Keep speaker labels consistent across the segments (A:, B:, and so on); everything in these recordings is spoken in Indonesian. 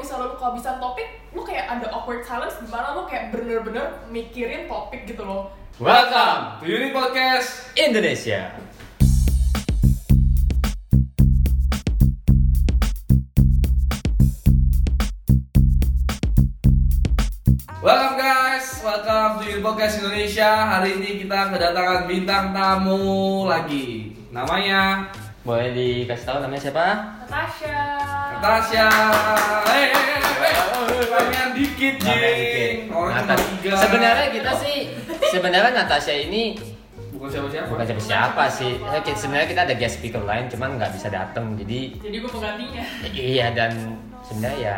A: kehabisan topik lu kayak ada awkward silence di mana lu kayak bener-bener mikirin topik gitu loh
B: Welcome to Uni Podcast.
C: Indonesia.
B: Welcome guys, welcome to Uni Podcast Indonesia. Hari ini kita kedatangan bintang tamu lagi. Namanya
C: Boleh dikasih tahu namanya siapa?
A: Natasha
B: Natasha. Hey, hey, hey, hey. Ramean dikit,
C: Namanya
B: jing.
C: Dikit.
B: Orang cuma
C: Natasha.
B: tiga.
C: Sebenarnya kita sih, sebenarnya Natasha ini
B: bukan siapa-siapa.
C: bukan siapa-siapa sih. Oke, sebenarnya kita ada guest speaker lain, cuman nggak bisa datang. Jadi
A: jadi gue penggantinya
C: iya dan sebenarnya ya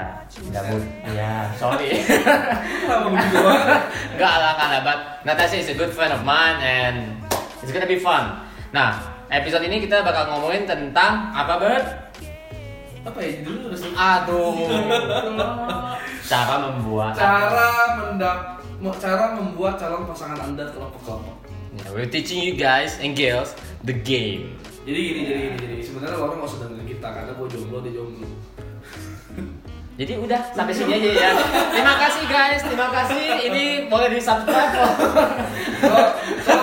C: nggak bu- ya sorry.
B: Kenapa begitu banget?
C: Enggak lah, enggak lah, but Natasha is a good friend of mine and it's gonna be fun. Nah, episode ini kita bakal ngomongin tentang apa, Bert?
B: Apa ya judulnya udah sih?
C: Aduh, cara membuat.
B: Cara mendap mo- cara membuat calon pasangan Anda kelompok-kelompok.
C: Yeah, we're teaching you guys and girls the game.
B: Jadi gini, jadi gini, jadi gini. sebenarnya orang nggak usah dengerin kita karena gue jomblo, dia jomblo.
C: Jadi udah sampai sini aja ya. Terima kasih guys, terima kasih. Ini boleh di subscribe loh.
B: so,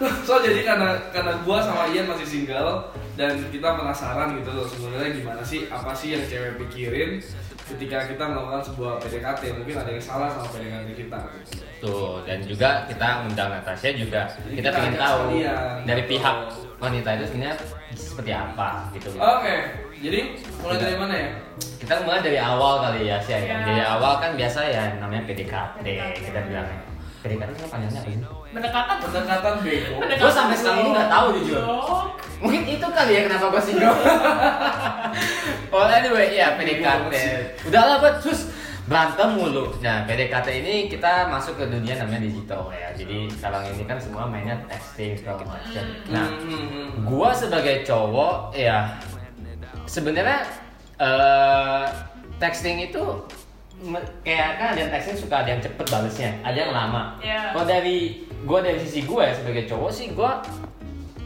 B: so, so jadi karena karena gua sama Ian masih single dan kita penasaran gitu loh sebenarnya gimana sih apa sih yang cewek pikirin ketika kita melakukan sebuah PDKT mungkin ada yang salah sama PDKT kita
C: Tuh dan juga kita undang Natasha juga.
B: Jadi
C: Kita
B: kita
C: pengen
B: ajak
C: tahu
B: sekalian.
C: dari pihak wanita itu sebenarnya seperti apa gitu.
B: oke jadi mulai dari mana ya
C: Kita mulai dari awal kali ya sih. ya.
A: Ya.
C: Dari awal kan biasa ya namanya PDKT
A: PDKT.
C: kita bilangnya. PDKT itu kan panjangnya apa ini?
A: mendekatan
B: pendekatan bego
A: Pendekatan.
C: Gue sampai sekarang ini nggak tahu jujur.
A: Dong.
C: Mungkin itu kali ya kenapa gue singgung. oh anyway, ya PDKT. Udahlah buat sus berantem mulu. Nah PDKT ini kita masuk ke dunia namanya digital ya. Jadi sekarang ini kan semua mainnya texting segala macam. Nah,
B: Hmm, hmm, hmm.
C: gua sebagai cowok ya sebenarnya eh, texting itu me- kayak kan ada yang texting suka ada yang cepet balesnya, ada yang lama.
A: Iya.
C: Kalau dari gua dari sisi gua ya sebagai cowok sih gua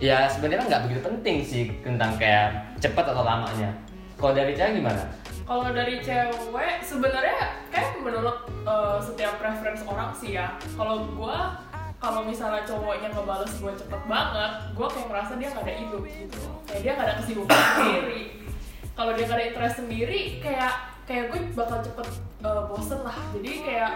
C: ya sebenarnya nggak begitu penting sih tentang kayak cepet atau lamanya. Kalau dari cewek gimana?
A: kalau dari cewek sebenarnya kayak menurut eh, setiap preference orang sih ya kalau gua kalau misalnya cowoknya ngebales gue cepet banget gua kayak merasa dia nggak ada hidup gitu kayak dia nggak ada kesibukan sendiri kalau dia nggak ada interest sendiri kayak kayak gue bakal cepet eh, bosen lah jadi kayak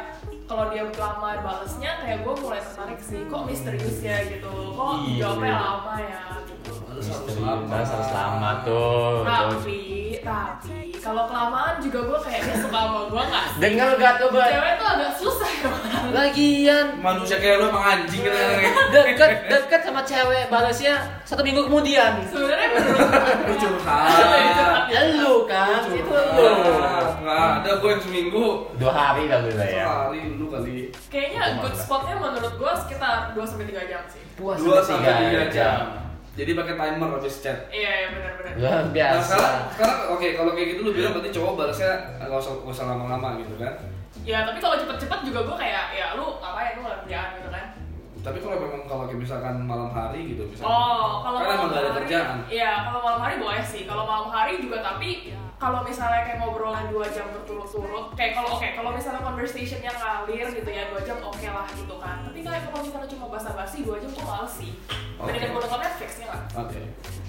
A: kalau dia lama balesnya kayak gue mulai tertarik sih kok misterius ya gitu kok
C: Iya.
A: jawabnya lama ya gitu
B: Harus- harus
C: Misteri
B: lama.
C: balas harus lama tuh.
A: Nah.
C: Tuh.
A: tapi tapi kalau kelamaan juga gue kayaknya suka sama gue nggak
C: Dengar gak tuh Bang?
A: cewek tuh agak susah ya Bang.
C: Lagian
B: manusia kayak lu emang anjing kan
C: deket deket sama cewek balasnya satu minggu kemudian.
A: sebenarnya menurut
B: lu
A: Curhat.
B: curhat
C: Lu kan, itu lu.
B: Ah, nggak ada gue yang seminggu
C: Dua hari kali lah ya.
B: sehari lu kali
A: kayaknya good spotnya menurut gue sekitar 2 sampai tiga jam sih
C: Puas
B: dua sampai tiga jam jadi pakai timer habis chat
A: iya iya benar-benar
C: Luar
B: Nah,
C: biasa.
B: sekarang, sekarang oke kalau kayak gitu lu bilang berarti cowok balasnya nggak usah nggak usah lama-lama gitu kan.
A: ya tapi kalau cepet-cepet juga gue kayak ya lu ngapain lu nggak ada kerjaan gitu kan
B: Tapi kalau memang kalau kayak misalkan malam hari gitu misalkan.
A: Oh, kalau
B: kan emang
A: malam
B: nggak ada
A: hari-
B: kerjaan.
A: Iya, kalau malam hari boleh sih. Kalau malam hari juga tapi kalau misalnya kayak ngobrolan dua jam berturut-turut, kayak kalau oke, kalau misalnya conversation yang ngalir gitu ya dua jam oke lah gitu kan. Tapi kayak kalau misalnya cuma basa-basi dua jam tuh males sih.
B: Oke.
A: Mendingan gue nonton Netflix ya nggak?
B: Oke.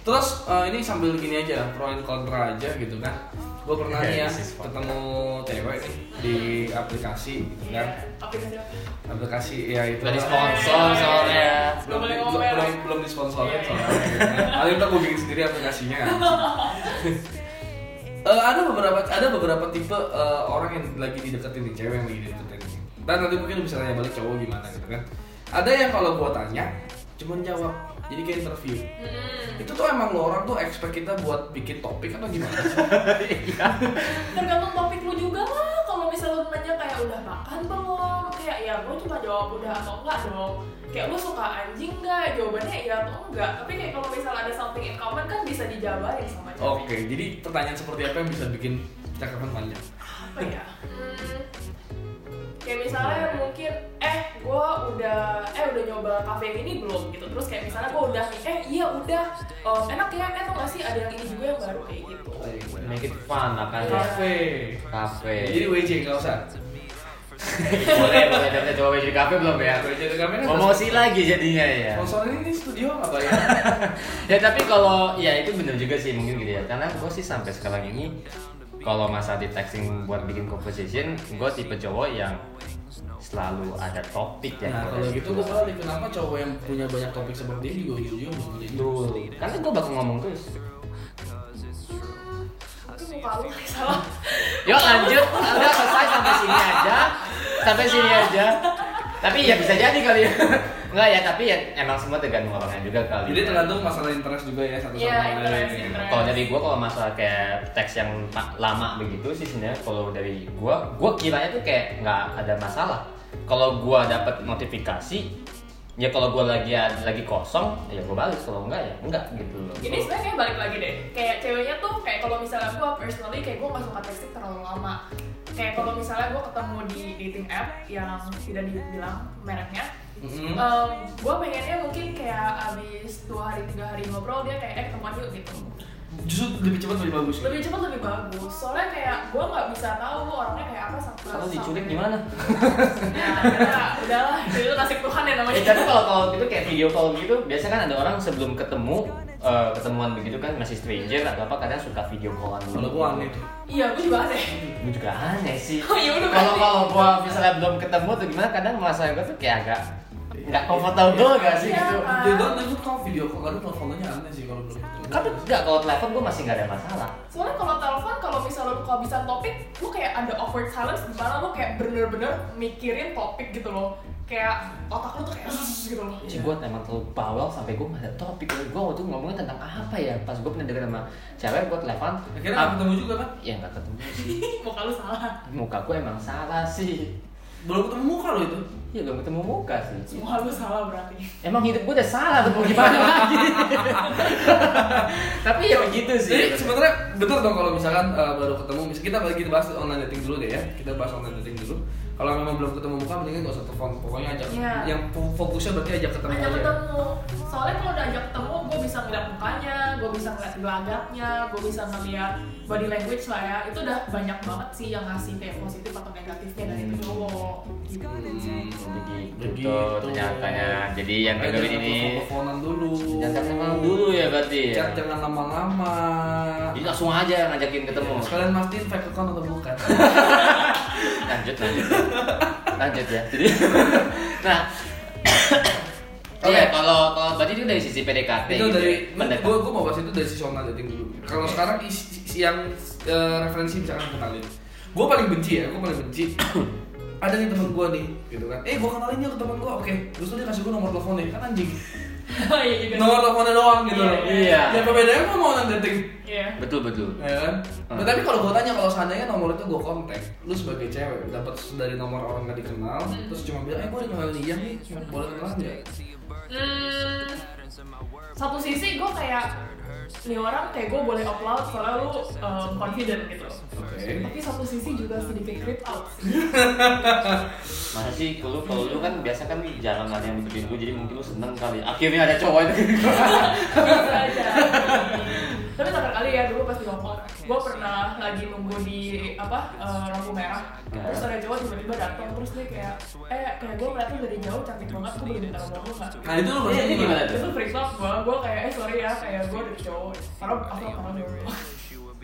B: Terus eh, ini sambil gini aja pro and contra aja gitu kan. Gue pernah nih ya
C: This is fun.
B: ketemu cewek nih di aplikasi gitu
A: Iya.
B: kan.
A: Tapi kerja.
B: Aplikasi ya itu.
C: Gak
A: Hmm.
C: di sponsor soalnya.
A: Nggak
B: belum
A: boleh
B: belum
A: ngomel.
B: belum, belum disponsorin
A: Iya, iya.
B: soalnya gitu kan. Paling ntar gue bikin sendiri aplikasinya Eh, ada beberapa ada beberapa tipe eh, orang yang lagi dideketin nih cewek yang lagi dideketin dan nanti mungkin bisa tanya balik cowok gimana gitu kan ada yang kalau gua tanya cuman jawab jadi kayak interview
A: Hmm.
B: itu tuh emang lo orang tuh expect kita buat bikin topik atau gimana sih?
A: Tergantung topik lu juga lah. Kalau misalnya lu nanya kayak udah makan belum, kayak ya gue cuma jawab udah atau enggak dong. Kayak lu suka anjing nggak? Jawabannya iya atau enggak. Tapi kayak kalau misalnya ada something in common kan bisa dijabarin sama dia.
B: Oke, jadi pertanyaan seperti apa yang bisa bikin cakapan panjang?
A: apa ya hmm, kayak misalnya mungkin eh gue udah eh udah nyoba kafe yang ini belum gitu terus kayak misalnya gue udah nih eh iya udah Eh, enak ya eh tau gak sih ada yang ini juga yang baru kayak gitu
B: Oh, iya.
C: make it fun lah kan ya
B: Kafe.
C: kafe
B: Jadi WJ nggak usah.
C: boleh boleh dapet coba jadi kafe belum ya
B: WJ itu kamera.
C: promosi lagi jadinya ya
B: Sponsor ini studio nggak bayar.
C: ya tapi kalau ya itu bener juga sih mungkin gitu ya karena gue sih sampai sekarang ini kalau masa di texting buat bikin conversation gue tipe cowok yang selalu ada topik ya
B: Nah kalau gitu gue balik kenapa cowok yang punya banyak topik seperti ini juga ujung-ujung belum itu.
C: dulu kan gue bakal ngomong terus
A: itu muka lu salah
C: yuk lanjut udah selesai sampai sini aja sampai sini aja tapi ya bisa jadi kali ya Enggak ya, tapi ya emang semua tergantung orangnya juga kali.
B: Jadi
C: ya.
B: tergantung masalah interest juga ya satu sama
A: Iya,
B: lain.
A: interest, interest.
C: Kalau dari gua kalau masalah kayak teks yang ma- lama begitu sih sebenarnya kalau dari gua, gua kiranya tuh kayak nggak ada masalah. Kalau gua dapat notifikasi, ya kalau gua lagi lagi kosong, ya gua balas. Kalau enggak ya enggak gitu loh.
A: ini sebenarnya kayak balik lagi deh kayak ceweknya tuh kayak kalau misalnya gue personally kayak gue gak suka texting terlalu lama kayak kalau misalnya gue ketemu di dating app yang tidak dibilang mereknya
C: Hmm?
B: Mm-mm.
A: gue pengennya mungkin kayak abis dua hari tiga hari ngobrol dia kayak eh ketemuan yuk gitu
B: Justru lebih cepat lebih bagus.
A: lebih cepat lebih bagus soalnya kayak gue nggak bisa tahu orangnya kayak apa sampai
C: Kalau diculik
A: sampai-
C: gimana?
A: ya udah- udahlah itu nasib Tuhan ya namanya
C: Eh, tapi kalau kalau gitu kayak video call gitu, biasa kan ada orang sebelum ketemu eh, ketemuan begitu kan masih stranger atau apa kadang suka video callan dulu.
B: Kalau gue aneh tuh.
A: iya gue juga aneh
C: Gue juga aneh sih.
A: Oh, ya udah,
C: Kalau
A: berarti.
C: kalau gua misalnya belum ketemu tuh gimana kadang merasa gua tuh kayak agak nggak comfortable gak sih
A: Iya,
C: gitu.
A: Pak.
B: Itu itu kalau video call kadang teleponannya aneh sih kalau belum. ketemu.
C: Kan enggak kalau telepon gua masih nggak ada masalah.
A: soalnya kalau telepon kalau misalnya lu kehabisan topik lu kayak ada awkward silence di mana lu kayak bener-bener mikirin topik gitu loh kayak otak lu tuh kayak "Zzz" gitu loh
B: Iya.
C: Cih, gua emang terlalu bawel sampai gua nggak ada topik. Gua waktu itu ngomongin tentang apa ya? Pas gua pernah denger sama cewek gua telepon. ah,
B: Akhirnya nggak ketemu juga kan?
C: ya nggak ketemu sih.
A: muka lu salah
C: Muka gua emang salah sih.
B: Belum ketemu muka lo itu.
C: Ya belum ketemu muka sih.
A: semua lu salah berarti
C: Emang hidup gua udah salah, mau gimana lagi? Tapi ya begitu sih.
B: Jadi sebenarnya bener dong kalau misalkan eh, baru ketemu, misal kita bagi kita bahas online dating dulu deh ya. Kita bahas online dating dulu. Kalau memang belum ketemu muka mendingan gak usah telepon. Pokoknya ajak
A: Iya.
B: yang fo- fokusnya berarti ajak ketemu
A: ajak
B: aja.
A: ketemu soalnya kalau udah ajak ketemu gue bisa ngeliat mukanya gue bisa ngeliat gelagatnya gue bisa ngeliat body language lah ya itu udah banyak banget sih yang ngasih kayak positif atau negatifnya dari itu cowok gitu.
B: Hmm.
C: Begitu ternyatanya. gitu. Jadi yang
B: Makanya
C: dengerin
B: jangan
C: ini
B: teleponan dulu.
C: jangan kenal dulu ya Iya. berarti. ya?
B: Chat jangan lama-lama.
C: Jadi langsung aja ngajakin ketemu.
B: Sekalian mastiin fake account atau bukan.
C: Lanjut lanjut. lanjut ya. Jadi nah
B: Oke.
C: Iya, kalau kalau berarti itu dari sisi PDKT.
B: itu
C: gitu
B: dari
C: ya?
B: gue
C: Mendekat.
B: gue mau bahas itu dari sisi online dating dulu kalau sekarang isi, isi yang eh, referensi misalkan kenalin gue paling benci ya gue paling benci ada nih temen gue nih gitu kan eh gue kenalin yuk ke temen gue oke terus tuh dia kasih gue nomor teleponnya kan anjing
A: oh iya juga
B: nomor teleponnya doang gitu loh
C: Iya.
B: ya perbedaannya gue mau online dating
A: iya
C: Betul betul.
B: ya kan
C: Hmm.
B: Nah, tapi kalau gue tanya kalau seandainya nomor itu gue kontak lu sebagai cewek dapat dari nomor orang nggak dikenal
C: Hmm.
B: terus cuma bilang eh gue dikenalin iya nih boleh kenalan nggak
C: Iya.
A: Hmm, satu sisi gue kayak nih orang kayak gue boleh upload soalnya lu um, confident gitu
B: oke
A: tapi satu sisi juga sedikit creep out
C: Masa sih kalau kalau lu kan biasa kan jarang ada yang deketin gue jadi mungkin lu seneng kali. Akhirnya ada cowok itu.
A: Bisa aja. tapi terakhir kali ya dulu pas di Hongkong gue pernah lagi nunggu di apa eh, lampu merah terus ada cowok tiba-tiba datang terus dia kayak eh kayak gue ngeliat lu dari jauh cantik banget gue belum minta nomor lu nggak
B: nah itu lu
C: Iya,
B: berarti
C: ini gimana?
A: itu freak out gue gue kayak eh sorry ya kayak gue dari cowok karena aku karena cowok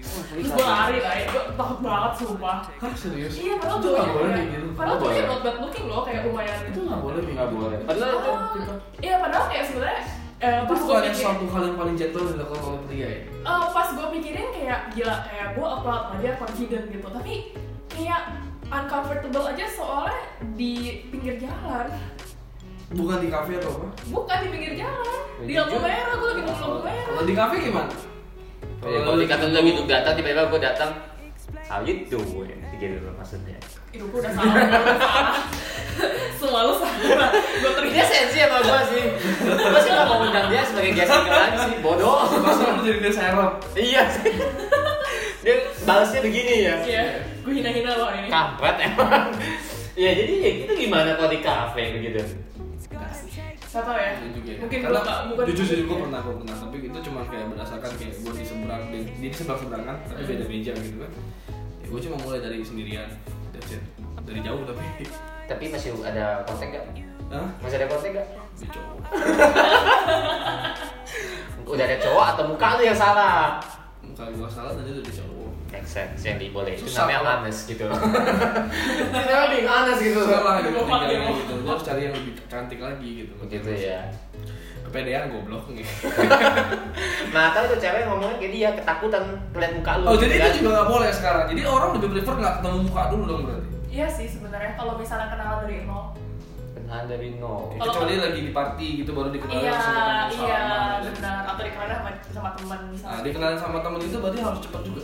A: terus gue lari lah ya gue takut banget sumpah
B: Hah, serius
A: Iya, padahal
B: Itu nggak
A: cowoknya kayak-
B: boleh kayak gitu.
A: Padahal
C: Nggak
A: cowoknya
C: boleh.
A: not bad looking loh, kayak lumayan
B: itu nggak boleh gitu. Bi.
C: Nggak boleh. Padahal itu
A: Oh,
B: gitu.
A: Iya, padahal kayak sebenarnya eh,
B: Itu
A: pas gue
B: bukan yang
A: pikirin,
B: suatu hal yang paling jatuh dilakukan oleh pria ya?
A: eh, pas gue pikirin kayak gila kayak gue upload aja confident gitu, tapi kayak uncomfortable aja soalnya di pinggir jalan,
B: Bukan di kafe atau apa?
A: bukan di pinggir jalan, di
C: Jadi
A: lampu
B: gitu.
C: jauh.
A: merah gue lagi nunggu lampu merah.
B: Kalau di kafe gimana?
C: Ya, kalau dikata lu gitu datang tiba-tiba gue datang how you doing gitu loh maksudnya
A: Itu gue udah salah, gua udah salah. Semua lu salah, gue
C: dia
B: Iya
A: terlihat
C: sensi sama gue sih gue sih gak mau undang dia sebagai guest speaker lagi sih bodoh
B: Masa lu jadi dia serap?
C: iya sih dia balasnya begini ya
A: ya, gue hina-hina lo ini.
C: Iya, gitu, kampret emang ya jadi ya itu gimana kalau di kafe begitu
A: Enggak sih. Gak tau ya.
B: Iya juga ya.
A: Mungkin belum
B: Karena
A: nggak- bukan. ya.
B: jujur sih gue pernah gue pernah tapi itu cuma kayak berdasarkan kayak gue di seberang di, di seberang seberang kan
A: Hmm.
B: tapi beda meja gitu kan ya, gue cuma mulai dari sendirian that's it dari jauh tapi
C: Tapi masih ada kontak gak?
B: Hah?
C: Masih ada kontak gak?
B: Dia cowok
C: Udah ada cowok atau muka lu yang salah?
B: muka gue salah tadi udah cowok
C: Make sense, yang diboleh itu
B: Susah,
C: namanya
B: Bang.
C: honest gitu Itu namanya being honest gitu
B: salah gitu
A: Lupa,
B: tinggalnya
A: lupa.
B: gitu gue harus cari yang lebih cantik lagi gitu
C: Begitu ya
B: kepedean goblok gitu. nih
C: Nah tau tuh cewek ngomongnya kayak dia ketakutan ngeliat muka lu
B: oh jadi
C: kan?
B: itu juga nggak boleh sekarang jadi orang lebih prefer nggak ketemu muka dulu dong berarti
A: Iya sih sebenarnya kalau misalnya kenalan dari nol.
C: Benar dari nol
B: Ya,
A: Kalau-
B: kecuali lagi di party gitu baru dikenalin
A: Iya,
B: langsung ketemu
A: iya
B: salaman gitu.
A: benar. Atau dikenalin sama, sama teman
B: Nah,
A: misalnya.
B: dikenalin sama temen itu berarti harus cepat juga.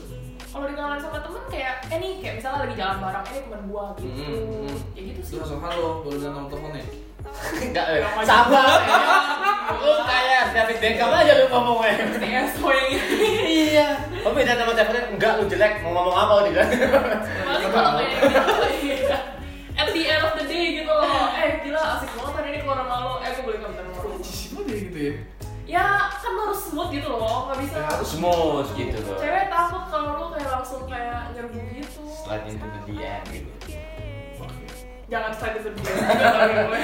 A: Kalau dikenalin sama teman kayak, eh nih kayak misalnya lagi jalan bareng, eh ini teman gua gitu.
B: Mm-mm, mm-mm.
A: Ya gitu
B: Terus
A: sih.
B: langsung halo, baru dengan nomor teleponnya.
C: Enggak, eh,
A: Ngapain?
C: sabar eh. Lu kayak David Beckham aja lu ngomongnya
A: TSO yang gitu. ini.
C: Iya Oh beda nama teleponnya, enggak lu jelek, mau ngomong apa gitu kan. lu
A: Paling
C: bilang
A: kalau kayak
B: ya?
A: gitu. At the end of the day gitu loh. Eh gila asik banget hari ini keluar sama lo. Eh gue boleh minta nomor lu.
B: Cisipan dia gitu ya.
A: Ya kan lo harus smooth gitu loh, nggak bisa.
C: Smooth gitu loh
A: Cewek takut kalau lo kayak langsung kayak nyerbu gitu.
C: Setelah itu dia gitu
A: Jangan slide itu dia. nggak boleh.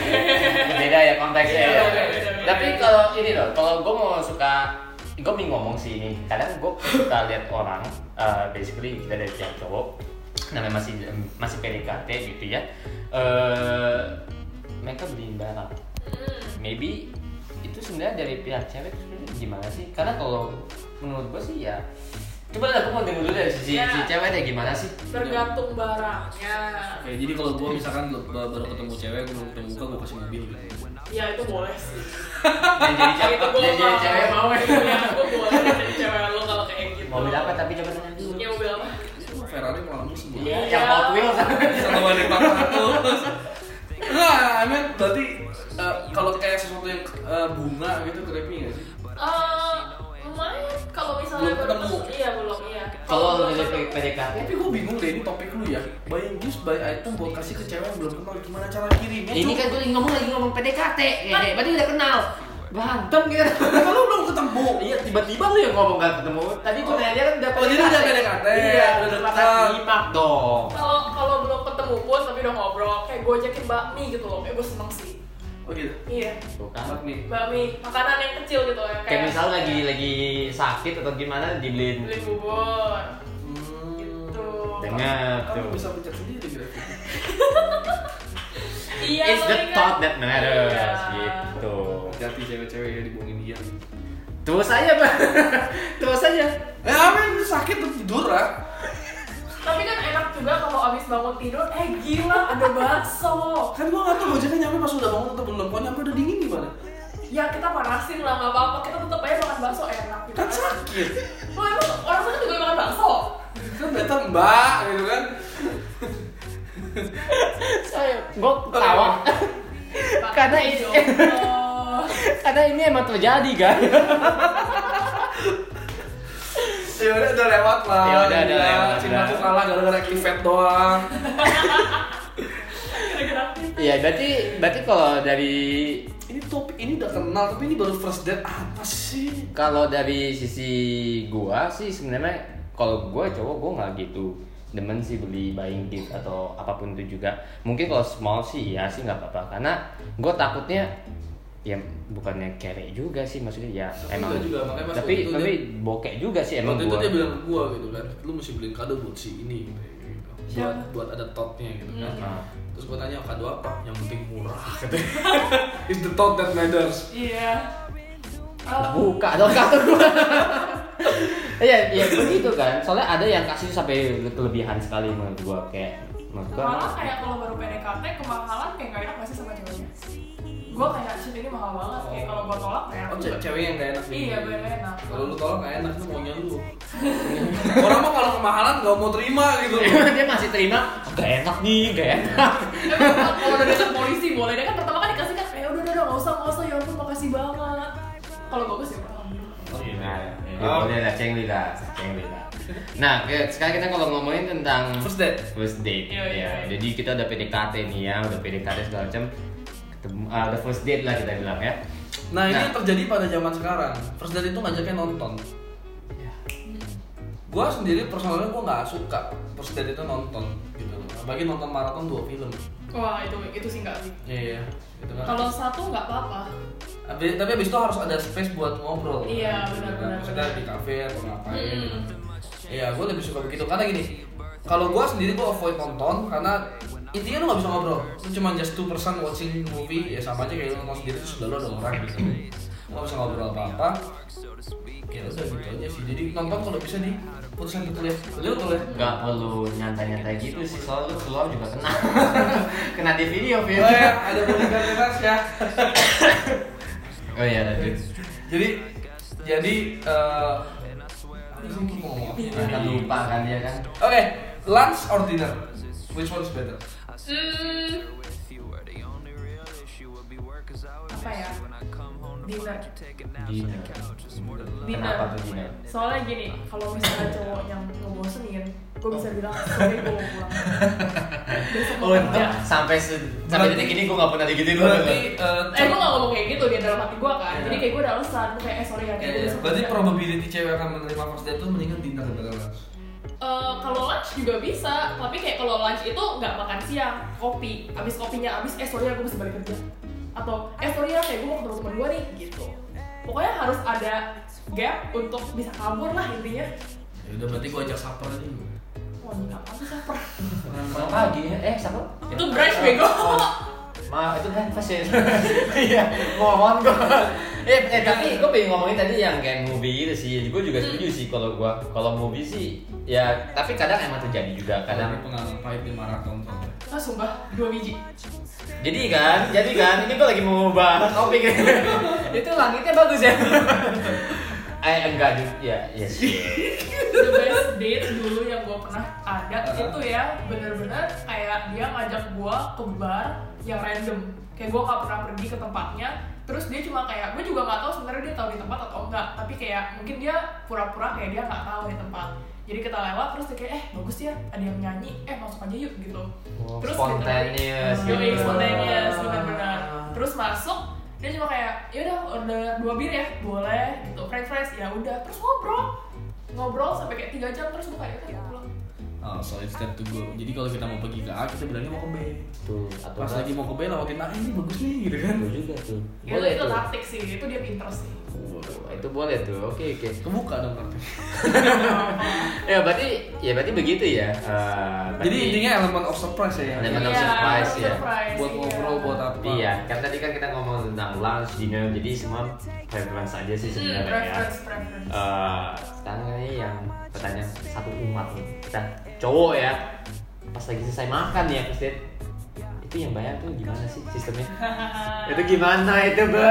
C: beda ya konteksnya
A: Iya,
C: ya.
A: beda, beda, beda.
C: tapi kalau ini loh kalau gue mau suka gue ming ngomong sih ini kadang gue suka lihat orang uh, basically kita dari pihak cowok namanya masih masih PDKT gitu ya Eh, mereka beliin barang
A: Hmm.
C: maybe itu sebenarnya dari pihak cewek itu sebenarnya gimana sih karena kalau menurut gue sih ya coba lah gue mau denger dulu dari sisi
A: Ya.
C: si cewek deh gimana sih
A: Tergantung barangnya.
B: Oke, jadi kalau gua misalkan lu- ba- baru ketemu cewek, gua belum ketemu muka, gua kasih mobil. gitu.
A: Ya itu boleh sih.
C: yang jadi cewek
A: itu
C: yang jadi cewek mau
A: Ya gue boleh jadi cewek lo kalau kayak gitu.
C: mobil apa tapi coba tanya dulu
A: Ya mobil apa?
B: Oh, Ferrari malam lu semua.
A: Iya.
C: yang Hot Wheels
B: Satu banding empat ratus. Nah, I mean, berarti eh, kalau kayak sesuatu yang eh, bunga gitu creepy nggak sih?
A: Eh, lumayan kalau misalnya
B: Belum ketemu.
A: Iya belum iya.
C: Kalau lu
A: belum
C: dari PDKT
B: Tapi gua bingung deh ini topik lu ya. Buying gifts by item buat kasih ke cewek yang belum kenal gimana cara kirimnya?
C: Ini
B: Cuk?
C: kan gue lagi ngomong lagi ngomong PDKT, hehe. Berarti udah kenal. Bantem gitu.
B: Kan lu belum ketemu.
C: Iya, tiba-tiba lu yang ngomong gak ketemu. Tadi gue
B: Oh.
C: nanya dia kan udah
B: Oh, jadi udah PDKT.
C: Iya,
B: Udah
C: udah
B: dekat.
C: Nyimak dong.
A: Kalau kalau belum ketemu pun tapi udah ngobrol kayak gue ajakin bakmi gitu loh. Kayak gue seneng sih.
B: Oh gitu.
A: Iya.
C: Tuh kan.
B: Amat nih.
A: Bakmi makanan yang kecil gitu ya kayak.
C: Kayak misal lagi lagi sakit atau gimana dibeliin.
A: beli bubur gitu.
B: Hmm.
C: Dengar
B: Kamu
C: tuh.
B: bisa pencet sendiri grafiknya.
A: Iya.
C: It's the
A: soalnya kan-
C: thought that matters
A: Iya.
C: gitu.
B: Hati-hati cewek-cewek ya dibohongin dia.
C: Terus aja, Pak. Terus aja.
B: Eh, amin sakit tuh tidur ah.
A: Tapi kan enak juga kalau abis bangun tidur, eh gila ada bakso.
B: Kan gua nggak tahu gojeknya nyampe pas udah bangun atau belum. Kalau nyampe udah dingin gimana?
A: Ya kita panasin lah nggak apa-apa. Kita tetep aja makan bakso enak gitu.
B: Kan sakit.
A: Lo emang orang sana juga makan bakso?
B: Kan beta mbak gitu kan.
C: Saya gue ketawa Karena
A: Bakmi
C: ini-
A: jongkok.
C: karena ini emang terjadi, kan.
B: Ya udah udah lewat lah.
C: Ya udah, udah
B: Gila,
C: lewat,
B: Cintaku
C: udah.
B: kalah gara-gara kivet doang.
C: Iya, berarti berarti kalau dari
B: Ini topik ini udah kenal tapi ini baru first date apa sih?
C: Kalau dari sisi gua sih sebenarnya kalau gua cowok gua nggak gitu demen sih beli buying gift atau apapun itu juga. Mungkin kalau small sih ya sih nggak apa-apa karena gua takutnya ya bukannya kere juga sih maksudnya ya
B: Tapi
C: emang
B: enggak juga, makanya pas
C: tapi
B: waktu itu
C: tapi
B: dia-
C: bokek juga sih emang
B: Waktu itu
C: gua.
B: dia bilang ke gua gitu kan, lu mesti beliin kado buat si ini gitu. gitu. Buat
A: Siapa? iya.
B: buat ada topnya gitu kan.
C: Hmm.
B: Terus gua tanya kado apa? Yang penting murah katanya. It's the thought that matters.
A: Iya.
C: Lah,
A: Oh,
C: buka dong kartu gua. Iya, iya begitu kan. Soalnya ada yang kasih sampai kelebihan sekali menurut gua kayak menurut gua.
A: malah kayak kalau baru PDKT kemahalan kayak gak enak masih sama ceweknya. Gue kayak shit ini mahal banget kayak kalau gue tolak kayak enak.
B: Oh,
A: juga.
B: ce- cewek yang gak enak gitu.
A: Iya, gue gak enak.
B: Kalau lu tolong gak enak tuh maunya lu. Orang mah kalau kemahalan gak mau terima gitu.
C: dia masih terima gak enak nih gak enak
A: Emang kalau- kalau udah dekat polisi boleh deh kan pertama kan dikasih kan ya udah udah udah, nggak usah nggak usah ya ampun makasih banget. Kalau bagus ya alhamdulillah.
C: nah, ya boleh lah cengli lah cengli lah nah ke- sekarang kita kalau ngomongin tentang
B: First date.
C: first date
A: Iya, iya.
C: ya jadi kita udah PDKT nih ya udah PDKT segala macam ketemu ah, the first date lah kita bilang ya.
B: Nah, ini
C: Nah.
B: yang terjadi pada zaman sekarang. First date itu ngajaknya nonton. Gua sendiri personalnya gua nggak suka first date itu nonton gitu. loh. Apalagi nonton maraton dua film.
A: Wah itu itu sih nggak sih.
B: Iya, gitu kan.
A: Kalau satu nggak apa-apa.
B: Abi- tapi abis itu harus ada space buat ngobrol.
A: Iya,
B: Gitu kan.
A: benar-benar.
B: Maksudnya di kafe atau ngapain.
A: Hmm.
B: Iya, gue lebih suka begitu karena gini. Kalau gue sendiri gue avoid nonton karena intinya lu gak bisa ngobrol. Lu cuma just two person watching movie ya sama aja kayak lu nonton sendiri terus udah lu ada orang gitu. Lu gak bisa ngobrol apa-apa. Ya udah gitu aja sih. Jadi nonton kalau bisa di putusan ya. ditulis. Lu tulis.
C: Gak perlu nyantai-nyantai gitu sih, soalnya lu keluar juga kena Kena di video, Fir
B: Oh ya, ada bodyguard bebas ya.
C: Oh iya, lanjut
B: Jadi jadi eh apa sih gua mau ngomong apa?
C: Akan lupa kan dia kan
B: Oke, lunch or dinner? Which one is better?
A: Hmm. Apa ya? Dinner.
C: Dinner Kenapa tuh dinner?
A: Soalnya gini, kalau misalnya cowok yang ngebosenin, gue bisa bilang sorry gue mau pulang. Besok
B: Oh,
A: mau
C: Untuk
B: iya.
A: kerja.
C: sampai se- sampai
B: Berarti-
C: detik ini gue gak pernah digituin loh
B: Berarti eh,
A: Eh gue gak ngomong kayak gitu di dalam hati gue kan.
B: Iya.
A: Jadi kayak gue udah alasan, gue kayak eh sorry ya.
B: Iya,
A: gue
B: iya.
A: besok
B: Berarti
A: kerja.
B: probability cewek akan menerima first date itu mendingan dinner daripada lunch.
A: Eh, kalau lunch juga bisa, tapi kayak kalau lunch itu nggak makan siang, kopi. Abis kopinya abis, eh sorry ya gue mesti balik kerja. Atau eh sorry ya kayak gue mau ketemu temen gue nih gitu. Pokoknya harus ada gap untuk bisa kabur lah intinya.
B: Ya udah berarti gua ajak supper aja.
A: Wah ini ah, kapan sih supper?
C: Malam pagi ya? Eh, siapa?
A: Itu brunch bego.
C: Maaf, itu breakfast ya Iya, mohon gue Eh, eh, tapi gue pengen ngomongin tadi yang kayak movie itu sih Gue
A: Hmm.
C: juga setuju sih kalau gue Kalau movie sih Ya, tapi kadang emang terjadi juga Kadang
B: Karena pengalaman pahit di maraton soalnya.
A: Ah sumpah dua biji.
C: Jadi kan, jadi kan, ini gue lagi mau bahas topik Itu langitnya bagus ya. Eh enggak juga, ya, ya sih.
A: The best date dulu yang gue pernah ada
B: Uh-huh.
A: itu ya bener-bener kayak dia ngajak gue ke bar yang random. Kayak gue gak pernah pergi ke tempatnya. Terus dia cuma kayak gue juga nggak tahu sebenarnya dia tahu di tempat atau enggak. Tapi kayak mungkin dia pura-pura kayak dia nggak tahu di tempat. Jadi kita lewat terus dia kayak eh bagus ya ada yang nyanyi eh masuk aja yuk gitu.
C: Oh,
A: Terus
C: spontaneous
A: Yo,
C: gitu.
A: spontaneous benar-benar. Terus masuk dia cuma kayak ya udah order dua bir ya boleh gitu french fries ya udah terus ngobrol ngobrol sampai kayak tiga jam terus gue kayak "Ya "Udah, pulang
B: Oh, so it's step to go. Jadi kalau kita mau pergi ke A, kita bilangnya mau ke B.
C: Tuh, atau
B: Pas lagi mau ke B, lewatin A, ini bagus nih, gitu kan.
C: itu juga
A: itu,
C: tuh. Boleh
A: Iya, Ya itu
C: tuh.
A: taktik sih itu dia pinter sih
C: Wow, Oh, Itu boleh tuh. Oke, oke.
B: Kebuka dong berarti.
C: Ya berarti ya berti begitu ya. Eh, berarti-
B: Jadi intinya elemen of surprise ya.
C: Elemen of
A: Iya,
C: surprise ya.
A: surprise,
B: Buat
A: iya.
B: ngobrol, buat apa.
C: Iya, kan tadi kan kita ngomong tentang lunch, dinner, jadi semua preference aja sih
A: hmm,
C: sebenarnya ya.
A: preference preference
C: Eh, sekarang ini yang pertanyaan satu umat nih kita cowok ya pas lagi selesai makan ya pasti itu yang bayar tuh gimana sih sistemnya itu gimana itu be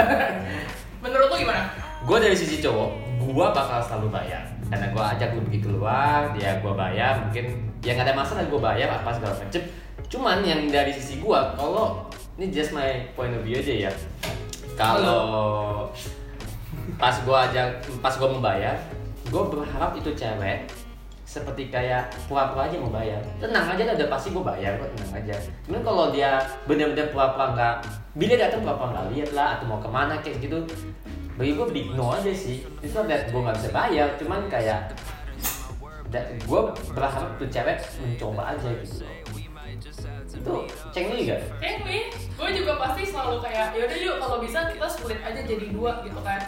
A: menurut lo gimana
C: gue dari sisi cowok gue bakal selalu bayar karena gue ajak lu pergi keluar ya gue bayar mungkin yang ada masalah gue bayar apa segala macem cuman yang dari sisi gue kalau ini just my point of view aja ya kalau pas gue ajak pas gue membayar gue berharap itu cewek seperti kayak pura-pura aja mau bayar tenang aja lah, udah pasti gue bayar kok tenang aja cuman kalau dia benar-benar pura-pura nggak bila datang pura-pura nggak lihat lah atau mau kemana kayak gitu bagi gue ignore aja sih itu that gue nggak bisa bayar cuman kayak gue berharap tuh cewek mencoba aja gitu itu cengli gak?
A: kayak gue gue juga pasti selalu kayak ya udah yuk kalau bisa kita split aja jadi dua gitu kan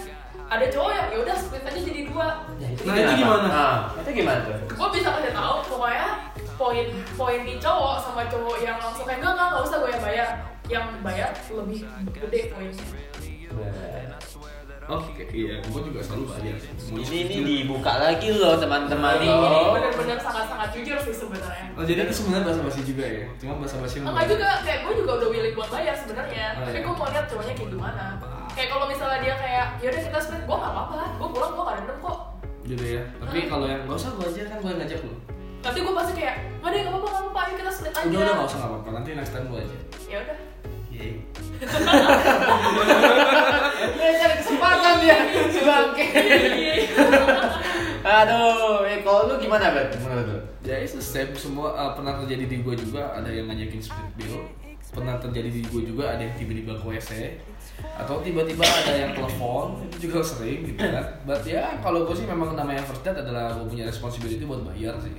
A: ada cowok yang ya udah split aja jadi dua
C: Nah
B: Nah, itu gimana?
C: Nah, itu gimana tuh?
A: gue bisa kasih tahu pokoknya poin poin di cowok sama cowok yang langsung kayak enggak enggak nggak usah gue yang bayar yang bayar lebih gede poinnya
B: Oke, iya. Gue juga selalu bayar. Mau
C: Nah, Ini ini
B: kecil.
C: dibuka lagi loh teman-teman Oh.
A: ini, ini
C: ini.
A: benar-benar sangat-sangat jujur sih sebenarnya
B: Oh, jadi itu sebenarnya bahasa basi juga ya? Cuma bahasa basi yang
A: enggak juga kayak gue juga udah willing buat bayar sebenarnya
B: Oh,
A: tapi
B: iya.
A: gue mau lihat cowoknya kayak gimana kayak kalau misalnya dia kayak yaudah kita split gue nggak apa-apa gue pulang gue nggak dendam kok
B: Gitu ya. Tapi kalau yang gak usah gue aja kan gue yang ngajak lu.
A: nanti gue pasti kayak nggak deh nggak apa-apa nggak apa-apa ayo kita split aja
B: Udah udah nggak usah nggak apa-apa. Nanti next time gue aja.
A: ya udah
C: Dia cari kesempatan dia si bangke.
A: Iya,
C: Aduh, eh kalau lu gimana bet menurut lu?
B: Ya itu same semua uh, pernah terjadi di gue juga ada yang ngajakin split bill pernah terjadi di gue juga ada yang tiba-tiba ke WC atau tiba-tiba ada yang telepon itu juga sering gitu kan but ya kalau gue sih memang namanya first date adalah gue punya responsibility buat bayar sih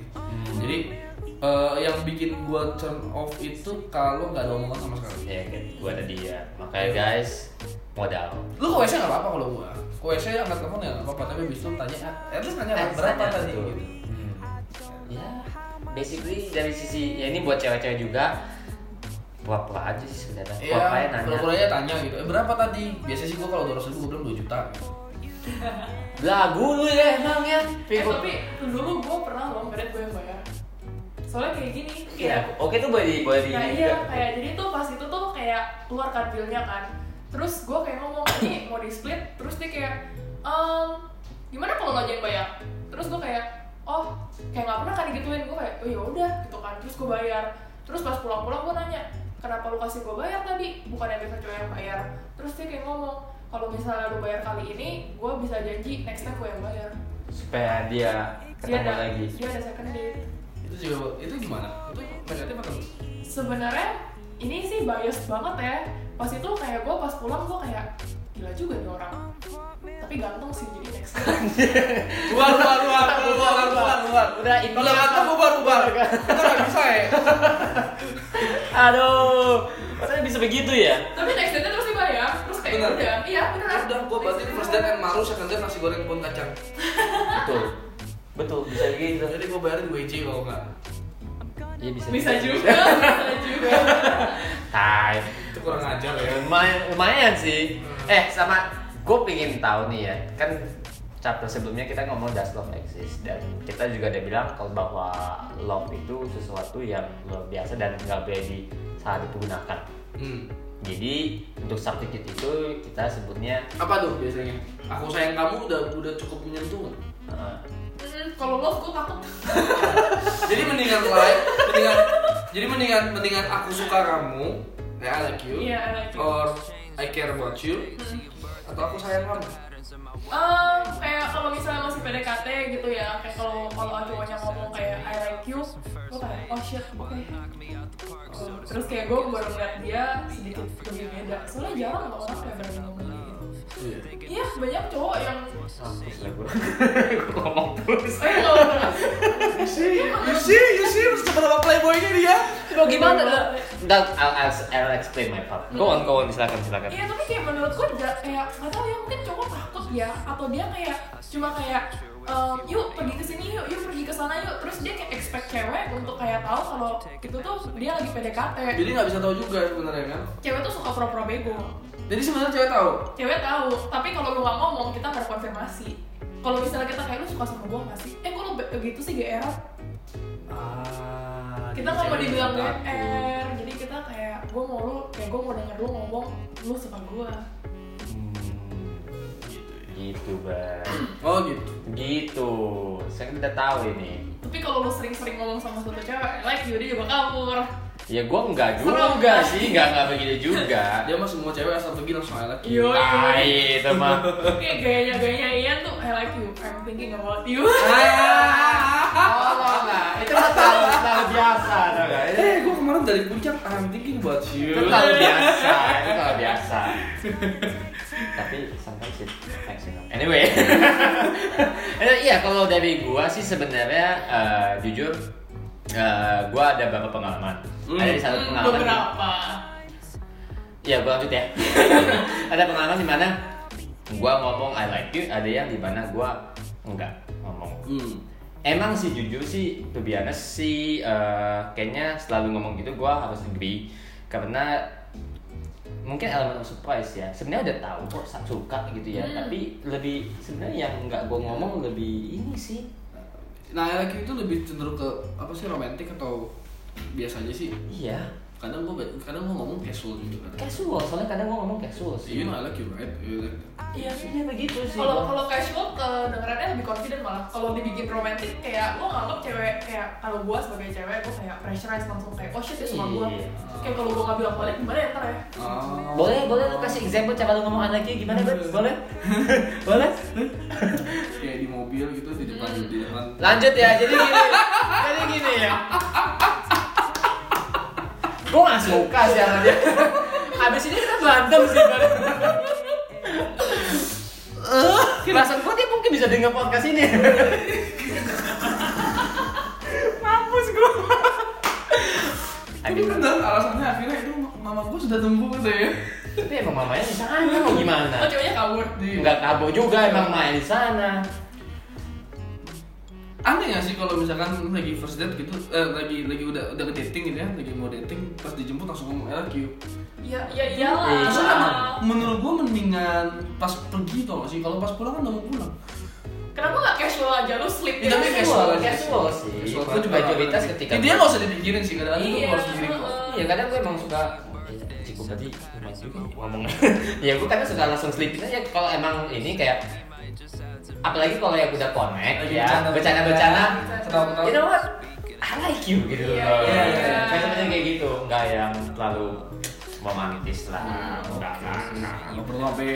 B: jadi eh, yang bikin gue turn off itu kalau nggak ada omongan sama sekali
C: ya kan gua ada dia makanya guys modal
B: lu ke WC nggak apa-apa kalau gue ke WC angkat telepon ya nggak apa-apa tapi abis itu tanya "Ah, at least nanya "Ah, berapa
C: Tanya
B: tadi
C: tuh.
B: gitu
C: Hmm. ya basically dari sisi ya ini buat cewek-cewek juga buat pula aja sih sebenarnya
B: Iya,
C: buat pula aja nanya
B: pura-pura aja tanya gitu. Eh, berapa tadi? Biasanya sih gua kalau 200 ribu gue bilang 2 juta.
C: lagu lu ya emang ya
A: Eh,
C: Pikul.
A: tapi dulu gue pernah loh berat gue yang bayar. Soalnya kayak gini,
C: ya
B: Iya.
A: kayak
C: oke tuh boleh di boleh di
A: Nah iya, kayak jadi tuh pas itu tuh kayak keluar kartilnya kan Terus gue kayak ngomong, ini mau di split Terus dia kayak, ehm, gimana kalau lo aja yang bayar? Terus gue kayak, oh kayak gak pernah kan digituin Gue kayak, oh yaudah gitu kan, terus gue bayar Terus pas pulang-pulang gue nanya, kenapa lu kasih gue bayar tadi? Bukan yang biasa cowok yang bayar Terus dia kayak ngomong, kalau misalnya lu bayar kali ini, gue bisa janji next time gue yang bayar
C: supaya dia
A: Dia
C: ketemu
A: Iya, ada,
C: lagi
A: dia ada second date
B: Itu juga itu gimana? Itu mereka apa tuh?
A: sebenarnya ini sih bias banget ya pas itu kayak gue pas pulang gue kayak gila juga nih orang tapi ganteng sih jadi next time
B: Luar, luar, luar, luar, luar, luar, luar.
C: udah
B: Kalau kata bubar, bubar. Kita nggak bisa ya.
C: aduh masa bisa begitu ya
A: tapi next date terus dibayar terus kayak
B: Bener.
A: udah iya beneran
B: Udah, gue berarti
A: Next
B: first
A: date
B: date kan maru, second date nasi goreng pun kacang.
C: betul betul bisa gitu
B: Jadi gue bayarin WC kalau nggak.
C: iya bisa
A: bisa juga bisa juga
C: tai
B: Itu kurang ajar ya.
C: lumayan lumayan sih eh sama gue pengen tahu nih ya kan chapter sebelumnya kita ngomong does love exist dan kita juga udah bilang kalau bahwa love itu sesuatu yang luar biasa dan nggak boleh di salah dipergunakan
B: Hmm.
C: jadi untuk substitute itu kita sebutnya
B: Apa tuh biasanya? Aku sayang kamu udah udah cukup menyentuh nggak?
C: eh,
A: Mm, kalau love gue takut
B: jadi mendingan like, mendingan jadi mendingan mendingan aku suka kamu, ya, I like you,
A: Iya, I like you. Hmm.
B: or I care about you, atau aku sayang kamu.
A: Ehm, kayak kalau misalnya masih PDKT gitu ya kayak kalau kalau cowoknya ngomong kayak I like you gue kayak oh shit oke Oh, terus kayak gue baru ngeliat dia sedikit lebih beda soalnya jarang loh orang kayak berani ngomong gitu Iya, Eh, banyak cowok yang
C: mampus lah gue Gua ngomong terus
A: Eh, nggak apa-apa. Iya,
B: You see, you see, you see, seberapa playboynya dia?
A: Lo gimana, Dok?
C: Ntar I'll, I'll- I'll explain my part Go on, go on, silakan, silakan
A: Iya, tapi kayak menurut gue udah kayak nggak tahu ya mungkin cowok takut ya atau dia kayak cuma kayak ehm, yuk pergi ke sini yuk, yuk pergi ke sana yuk. Terus dia kayak expect cewek untuk kayak tahu kalau itu tuh dia lagi PDKT.
B: Jadi nggak bisa tahu juga sebenarnya kan?
A: Cewek tuh suka pura-pura bego.
B: Jadi sebenarnya cewek tahu.
A: Cewek tahu, tapi kalau lu nggak ngomong kita nggak ada konfirmasi. Kalau misalnya kita kayak lu suka sama gue nggak sih? Eh, kok lu be- gitu sih GR?
B: Ah,
A: kita nggak mau dibilang eh. GR, jadi kita kayak gue mau lu, kayak gue mau denger lu ngomong lu suka gue.
C: Hmm, Gitu, Bang
B: Oh gitu.
C: Gitu, saya udah tahu ini
A: Tapi kalau lu sering-sering ngomong sama satu cewek, like you, dia juga kabur.
C: Ya gue enggak
A: Serem.
C: juga sih, enggak enggak begitu juga
B: Dia mah semua cewek asal pergi langsung I like you.
A: Yo,
C: Tai itu mah
A: kayak gayanya gayanya Ian tuh, I like you, I'm thinking about you.
C: Oh, enggak, enggak. itu mah terlalu, terlalu biasa tau nggak? Itu
B: Eh, gue kemarin dari puncak, I'm thinking about you.
C: itu terlalu biasa, itu terlalu biasa Tapi sometimes it makes you know. Anyway Eh, Iya, kalau dari gua sih sebenarnya eh, jujur eh, gua ada beberapa pengalaman
B: Hmm.
C: Ada di satu
A: Hmm,
C: pengalaman
A: Beberapa.
C: Iya, gua lanjut ya. ada pengalaman di mana gua ngomong I like you, ada yang di mana gua enggak ngomong.
B: Hmm.
C: Emang sih jujur sih, to be honest sih, eh, kayaknya selalu ngomong gitu gua harus agree karena mungkin elemen of surprise ya. Sebenarnya udah tahu kok sa- suka gitu ya,
A: Hmm.
C: tapi lebih sebenarnya yang enggak gua ngomong lebih ini sih.
B: Nah, I like you itu lebih cenderung ke apa sih romantis atau biasa aja sih?
C: Iya,
B: Kadang gue kadang gue ngomong casual gitu kan.
C: casual. Soalnya kadang gua ngomong casual sih.
B: Iya, You know I like you right? You like
A: Iya.
C: Sebenarnya begitu sih.
A: Kalau
C: gua.
A: kalau casual kedengarannya lebih confident malah. Kalau dibikin romantis kayak lo nganggap cewek kayak kalau gua sebagai cewek gua kayak pressurized langsung kayak oh shit dia suka gua.
C: Iya.
A: Kayak kalau gua nggak bilang balik gimana ya ntar ya?
B: Oh.
C: Boleh, boleh lu kasih example cara lu ngomong anak lagi gimana, Bet? Boleh? boleh?
B: kayak di mobil gitu di depan
C: Hmm.
B: di depan.
C: Lanjut ya, jadi gini. jadi gini ya. Gue nggak suka sih sama dia. Abis ini kita berantem sih. Bang. Perasaan gue dia mungkin bisa dengar podcast ini. Mampus gue.
B: Tapi bener alasannya akhirnya itu mama gue sudah tumbuh gitu ya.
C: Tapi emang mamanya di sana mau gimana?
A: Oh cowoknya kabur.
B: Di-
C: Enggak kabo juga emang main di sana.
B: aneh gak sih kalau misalkan lagi first date gitu eh, lagi lagi udah udah ke dating gitu ya lagi mau dating pas dijemput langsung ngomong I love you
A: Ya ya iyalah.
C: Eh,
B: Terus
C: sama.
B: kan, menurut gua mendingan pas pergi tau gak sih kalau pas pulang kan udah mau pulang
A: Kenapa nggak casual aja lu sleep?
B: Ya, tapi
A: aja.
B: casual aja.
C: Iya, casual sih.
B: Soal
C: Eh, Gua juga mayoritas ketika
B: dia nggak usah dipikirin sih kadang itu
A: Iya.
B: harus dipikirin
C: ya kadang gue emang suka
B: Eh,
C: cukup tadi lumayan juga ngomong ya gue kadang suka langsung sleepin aja kalau emang ini kayak apalagi kalau yang udah connect
B: Lagi
C: ya
B: bercanda-
C: bercanda bercanda
B: Ketawa-ketawa.
C: you know what I like you gitu
A: Iya,
C: loh
B: iya, iya.
C: macam-macam kayak gitu nggak yang terlalu romantis lah
B: Nah,
C: nggak nggak, nggak.
B: nggak perlu sampai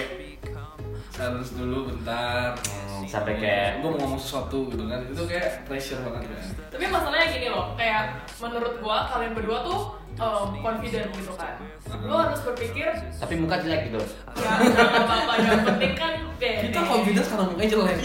B: harus dulu bentar
C: Hmm, sampai kayak
B: gue mau ngomong sesuatu gitu kan itu kayak pressure banget kan
A: Tapi masalahnya gini loh, kayak menurut gua kalian berdua tuh um, confident gitu kan. Lu harus berpikir
C: tapi muka jelek gitu
A: ya nggak apa-apa yang penting kan pede.
B: kita confidence karena mukanya jelek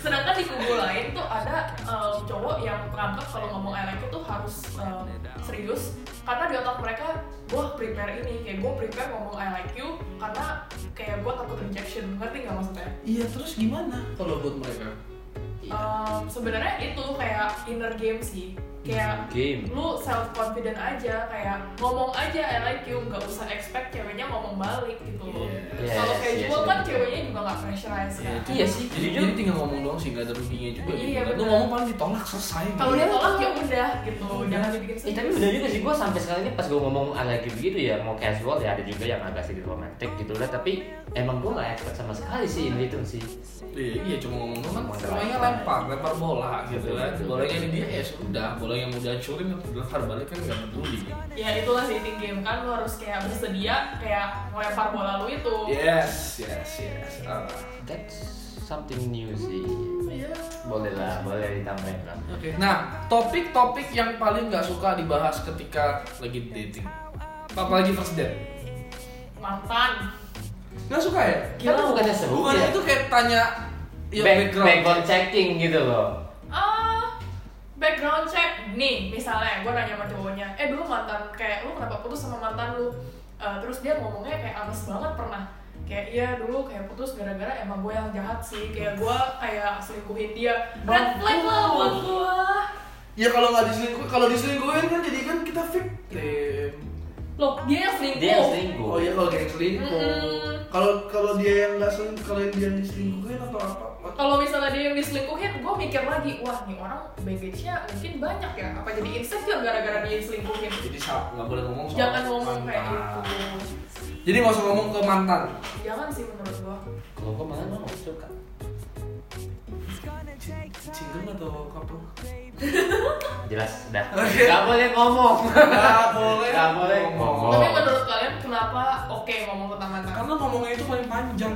A: Sedangkan di kubu lain tuh ada um, cowok yang nganggap kalau ngomong I like you tuh harus um, serius karena di otak mereka gua prepare ini kayak gua prepare ngomong I like you karena kayak gua takut rejection ngerti nggak maksudnya?
B: iya terus gimana kalau buat mereka
C: Iya.
A: Um, Sebenarnya itu kayak inner game sih kayak
C: game
A: lu self confident aja kayak ngomong aja I like you nggak usah expect ceweknya ngomong balik gitu loh
C: Yes,
A: kalau casual
C: yes,
A: kan
C: yes.
A: ceweknya juga nggak pressurize kan
C: Iya sih,
B: jadi,
C: jujur.
B: jadi tinggal ngomong doang sih nggak ada ruginya juga
A: Iya,
B: gitu kan. lu
A: benar.
B: ngomong paling ditolak selesai
A: kalau
C: Iya,
B: gitu.
A: dia tolak ya udah gitu jangan dibikin
C: Eh,
A: sedih
C: tapi udah juga sih gue sampai sekarang ini pas gue ngomong lagi begitu ya mau casual ya ada juga yang agak sedikit romantis gitu lah tapi emang gue nggak expert sama sekali sih ini itu sih
B: Iya, iya cuma ngomong doang kan
C: Ngomong doang.
B: semuanya lempar, lempar bola gitu kan.
C: Betul.
B: Bolanya di dia ya sudah, bola yang mau dihancurin yang dilempar balik kan nggak peduli.
A: ya itulah dating game kan lu harus kayak bersedia kayak ngelempar bola lu itu
C: Iya.
B: Yes, yes, yes. Ah.
C: that's something new sih
B: Iya.
C: boleh lah boleh ditambahin lah
B: Oke. Nah, topik-topik yang paling nggak suka dibahas ketika lagi dating. Apalagi first date.
A: mantan
B: Nggak suka ya?
C: Kan bukannya seru
B: Bukan
C: ya?
B: itu kayak tanya ya,
C: Back-
B: background.
C: background checking gitu loh
A: ah background check nih misalnya gue nanya sama cowoknya eh dulu mantan kayak lu kenapa putus sama mantan lu Eh, terus dia ngomongnya kayak anes banget pernah kayak iya dulu kayak putus gara-gara emang gue yang jahat sih kayak gue kayak selingkuhin dia red flag lah buat gue
B: Ya kalau nggak diselingkuh, kalau diselingkuhin kan jadi kan kita victim.
A: loh dia yang selingkuh
C: dia yang selingkuh
B: Oh iya kalau geng selingkuh.
A: Mm-mm.
B: Kalau kalau dia yang nggak selingkuh, kalau yang dia yang diselingkuhin atau apa?
A: kalau misalnya dia yang diselingkuhin gue mikir lagi wah nih orang baggage-nya mungkin banyak ya apa jadi insecure gara-gara dia yang selingkuhin
B: Jadi sa- nggak boleh ngomong soal
A: jangan ngomong kayak gitu.
B: mantan.
A: itu
B: Jadi nggak usah ngomong ke mantan.
A: jangan sih menurut gue
C: kalau gue malah mau suka
B: Single atau couple?
C: jelas dah
B: Oke.
C: nggak boleh ngomong
B: Nggak boleh.
C: Nggak boleh ngomong.
A: Tapi
C: Oh.
A: menurut kalian kenapa oke ngomong tentang mantan?
B: Karena ngomongnya itu paling panjang.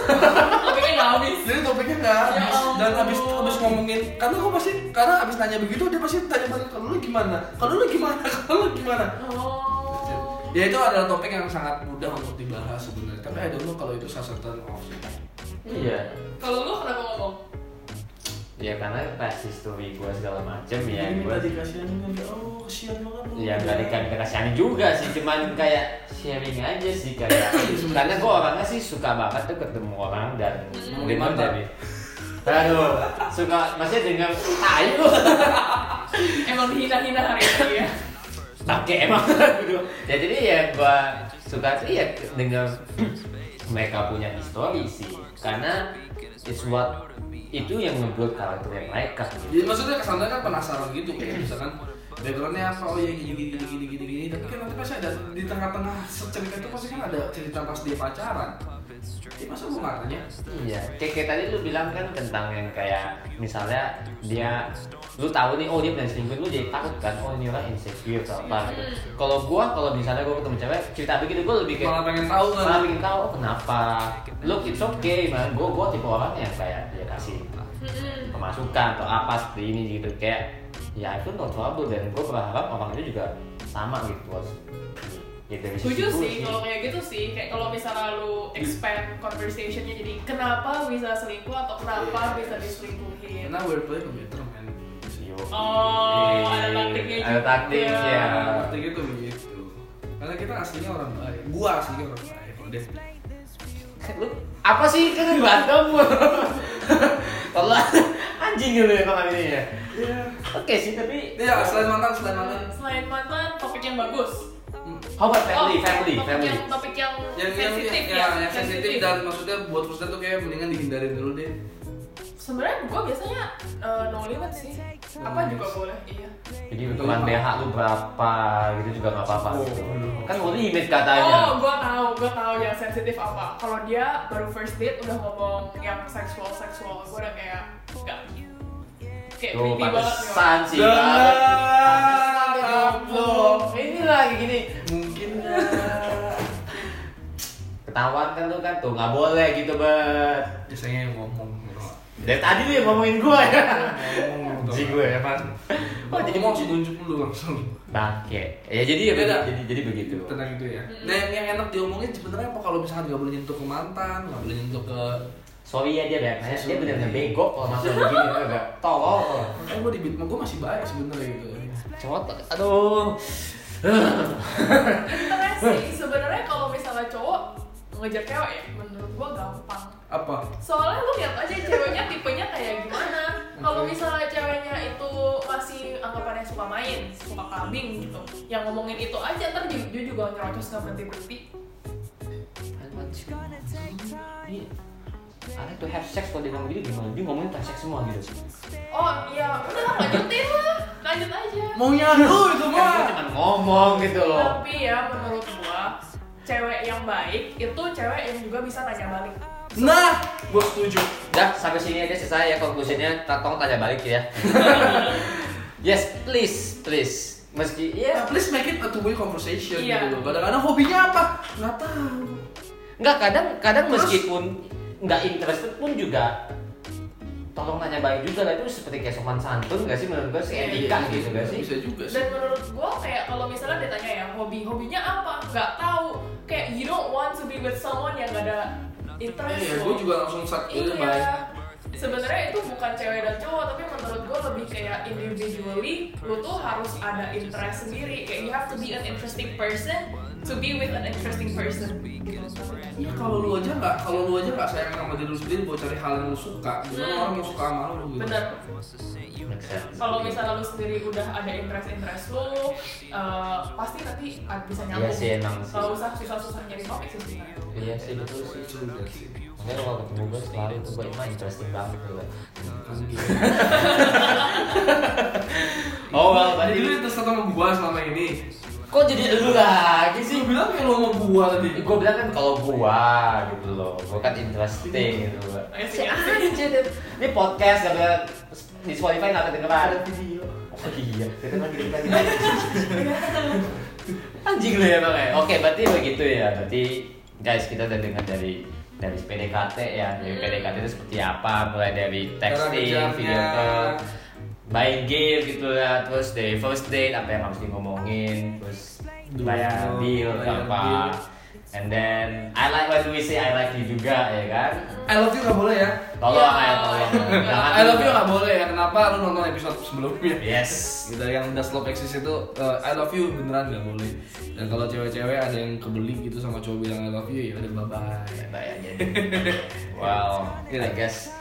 A: Tapi kan nggak habis.
B: Jadi topiknya nggak
A: Ya
B: habis.
A: ampun.
B: Dan habis habis ngomongin, karena gue pasti karena habis nanya begitu dia pasti tanya balik kalau lu gimana, kalau lu gimana, kalau lu gimana.
A: Oh.
B: Ya itu adalah topik yang sangat mudah untuk dibahas sebenarnya. Tapi I don't know kalau itu salah satu turn off.
C: iya
A: Oh. Kalau lu kenapa ngomong?
C: ya karena pasti story gue segala macem ya
B: Jadi
C: gue
B: minta dikasihan kan, oh kasihan banget lu.
C: Ya nggak dikasih kasihan juga sih, cuman kayak sharing aja sih kayak. Karena gue orangnya sih suka banget tuh ketemu orang dan
B: Hmm.
C: dengar
B: Mantap.
C: dari. Aduh, suka maksudnya dengar tai lu.
A: Emang dihina-hina hari ini ya?
C: Bangke emang. Aduh. ya jadi ya gue suka sih ya dengar mereka punya histori sih, karena it's what itu yang membuat karakternya mereka.
B: Jadi maksudnya kesannya kan penasaran gitu kayak misalkan backgroundnya apa oh ya gini gini gini gini gini tapi kan nanti pasti ada di tengah-tengah cerita itu pasti kan ada cerita pas dia pacaran ya masa gue nggak nanya
C: Iya, kayak, kayak tadi lu bilang kan tentang yang kayak misalnya dia lu tahu nih oh dia pernah selingkuh lu jadi takut kan oh ini orang insecure atau apa gitu. Kalau gua kalau misalnya gua ketemu cewek cerita begitu gua lebih kayak
B: malah pengen tahu
C: malah
B: kan
C: pengen tahu oh, kenapa. Look it's okay man, gua gua tipe orang yang kayak dia kasih
A: Mm-mm.
C: pemasukan atau apa seperti ini gitu kayak ya itu no trouble dan gue berharap orang itu juga sama gitu bos ya dari situ
A: Setuju sih, kalau kayak gitu sih, kayak kalau misalnya lu expand conversationnya jadi kenapa bisa selingkuh atau
C: Iya.
A: kenapa bisa diselingkuhin.
B: Karena we're playing computer man.
C: Yo.
A: Oh, ada taktiknya
C: ada
A: juga.
C: taktik ya
B: Nah, artinya tuh begitu. Karena kita aslinya orang baik. Gua aslinya orang baik. Udah.
C: lu apa sih kan bantem lu Allah anjing gitu ya kalau ini ya
B: Iya.
C: oke sih tapi eh,
B: Iya, selain mantan, selain mantan.
A: Selain mantan, topik yang bagus.
B: Hmm.
C: how about family
A: Oh,
C: family
A: topik
C: family
A: Yang, topik yang,
B: Yang yang
A: sensitif
B: yang, yang, yang sensitif dan maksudnya buat perusahaan tuh kayak mendingan dihindarin dulu deh.
A: sebenarnya gue biasanya eh, no limit sih. Apa juga boleh, iya.
C: jadi hitungan BH lu berapa gitu juga nggak apa-apa
B: Oh,
C: gitu
B: aduh.
C: kan lu limit katanya
A: Oh, gue tahu, gue tahu yang sensitif apa. Kalau dia baru first date udah ngomong yang seksual seksual, gue udah kayak enggak. Kayak
C: tuh
A: iya, creepy banget nih orang.
C: Oh, pantesan sih
B: Dengar,
C: Goblok. ini lagi gini
B: Mungkin
C: ketahuan kan lu kan tuh nggak boleh gitu bet
B: biasanya yang ngomong gitu.
C: dari tadi lu yang ngomongin gua ya
B: Ngomong gitu.
C: Anjing gue ya pan
B: Oh, jadi mau nunjuk dulu langsung.
C: bangke ya jadi ya
B: Beda.
C: jadi jadi, jadi begitu
B: Tenang itu ya.
A: Hmm.
B: Nah, yang, yang enak diomongin sebenarnya apa kalau misalkan nggak boleh nyentuh ke mantan, nggak boleh nyentuh ke
C: sorry ya dia banyak dia benar-benar bego kalau masuk begini agak tolol
B: Makanya gue di Bitmo, gue masih baik sebenernya gitu
C: cowok tuh, aduh
A: Interesting. Sebenarnya kalau misalnya cowok ngejar cewek ya, menurut gue gampang.
B: Apa?
A: Soalnya lu lihat aja ceweknya tipenya kayak gimana. Kalau misalnya ceweknya itu masih anggapannya suka main, suka clubbing gitu, yang ngomongin itu aja ntar dia, dia juga nyerocos nggak berhenti berhenti.
C: Ini, I like to have sex kalau dia ngomong gitu gimana dia ngomongin tentang seks semua gitu
A: Oh iya, udah lah, lanjutin lah, lanjut aja.
B: Maunya
A: Iya,
B: lu itu
C: kan gue cuma ngomong gitu loh
A: Tapi ya menurut gua, cewek yang baik itu cewek yang juga bisa nanya balik.
B: Nah, gue setuju
C: dah sampai sini aja selesai ya konklusinya Ta- tolong tanya balik ya yes please please meski ya
B: Ya, please make it a two-way conversation
A: Iya.
B: gitu loh Kadang-kadang hobinya apa? Nggak tahu
C: nggak kadang kadang
B: Terus?
C: meskipun nggak interested pun juga tolong nanya balik juga lah itu seperti kayak sopan santun gak sih menurut gue sih
A: Iya,
C: etika gitu gak sih
B: Bisa juga sih
A: Dan menurut gua kayak kalau misalnya ditanya ya hobi hobinya apa, nggak tahu. Kayak you don't want to be with someone yang gak ada interest.
B: Iya,
A: loh.
B: gue juga langsung start gitu
A: Iya.
B: baik
A: Sebenarnya itu bukan cewek dan cowok, tapi menurut gua lebih kayak individually, lu tuh harus ada interest sendiri. Kayak you have to be an interesting person to be with an interesting person.
B: Ya kalau lu aja nggak, kalau lu aja nggak sayang sama diri lu sendiri, mau cari hal yang lu suka, gimana
A: Hmm.
B: orang mau suka sama lu gitu?
A: Bener. iya. kalau misalnya lu sendiri udah ada interest-interest lu eh, pasti nanti ad- bisa nyambung
C: Iya sih, emang sih.
A: Nggak usah susah-susah nyari topik sih sebenarnya
C: iya sih betul sih
B: Lucu juga sih.
C: makanya kalau ketemu gue selalu tuh gue emang interesting banget gitu
B: Kan gitu.
C: oh well
B: Jadi lu terus sama gua selama ini.
C: kok jadi lu lagi sih
B: Lu bilang kayak lu sama gua tadi.
C: gue bilang kan kalau gua gitu loh gua kan interesting gitu loh
A: Ayo sih,
C: Si
A: ayo sih.
C: anjir, ini podcast gak boleh di Spotify gak kedengeran
B: video.
C: Oh iya, kita lagi kita lagi. Anjing lu ya bang ya. Oke, berarti begitu ya. Berarti guys kita udah dengar dari dari PDKT ya.
A: Hmm.
C: Dari PDKT itu seperti apa? Mulai dari texting, video
B: Cara kerjanya.
C: call, main game gitu lah. Terus dari first date apa yang harus di ngomongin. Terus
B: Dulu,
C: bayar deal
B: bayar
C: apa.
B: deal.
C: And then I like what we say I like you juga ya kan.
B: I love you nggak boleh ya?
C: Tolong
A: Ya.
C: ya, tolong. Jangan-
B: I love you nggak boleh ya? Kenapa lu nonton episode sebelumnya?
C: Yes.
B: Gitu, yang Das Love Exist itu eh, I love you beneran nggak boleh. Dan kalau cewek-cewek ada yang kebeli gitu sama cowok bilang I love you ya udah bye bye.
C: bayangin wow
B: Gitu.
C: I guess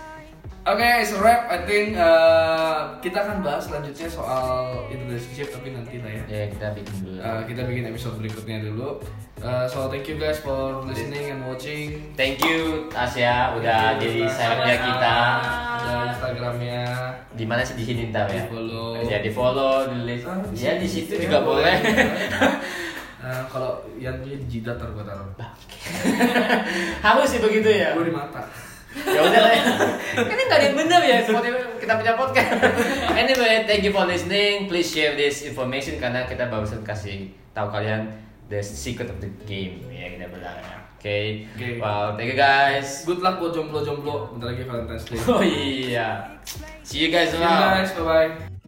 B: Oke, it's a wrap. I think uh, kita akan bahas selanjutnya soal relationship tapi nanti lah ya.
C: ya kita bikin dulu
B: Uh, kita bikin episode berikutnya dulu. Uh, so thank you guys for listening and watching.
C: thank you Asia udah
B: Thank
C: jadi
B: you.
C: sahabatnya Ya, kita
A: Ah.
B: Ada Instagramnya.
C: di mana sih di sini tahu ya
B: Di follow.
C: ya di follow di list
B: Ah, di
C: ya
B: sini.
C: di situ
B: Ya,
C: juga boleh
B: Uh, kalau yang punya di jidat ntar gua taruh.
C: harus sih begitu ya
B: Gue di mata.
C: ya udah lah ya. kan ini nggak ada yang benar ya seperti kita punya podcast anyway thank you for listening please share this information karena kita barusan kasih tahu kalian the secret of the game ya kita bilang oke
B: Oke.
C: wow thank you guys
B: Good luck buat jomblo-jomblo. Bentar lagi Valentine's Day.
C: Oh yeah. See you guys
B: See you
C: around.
B: guys, bye bye.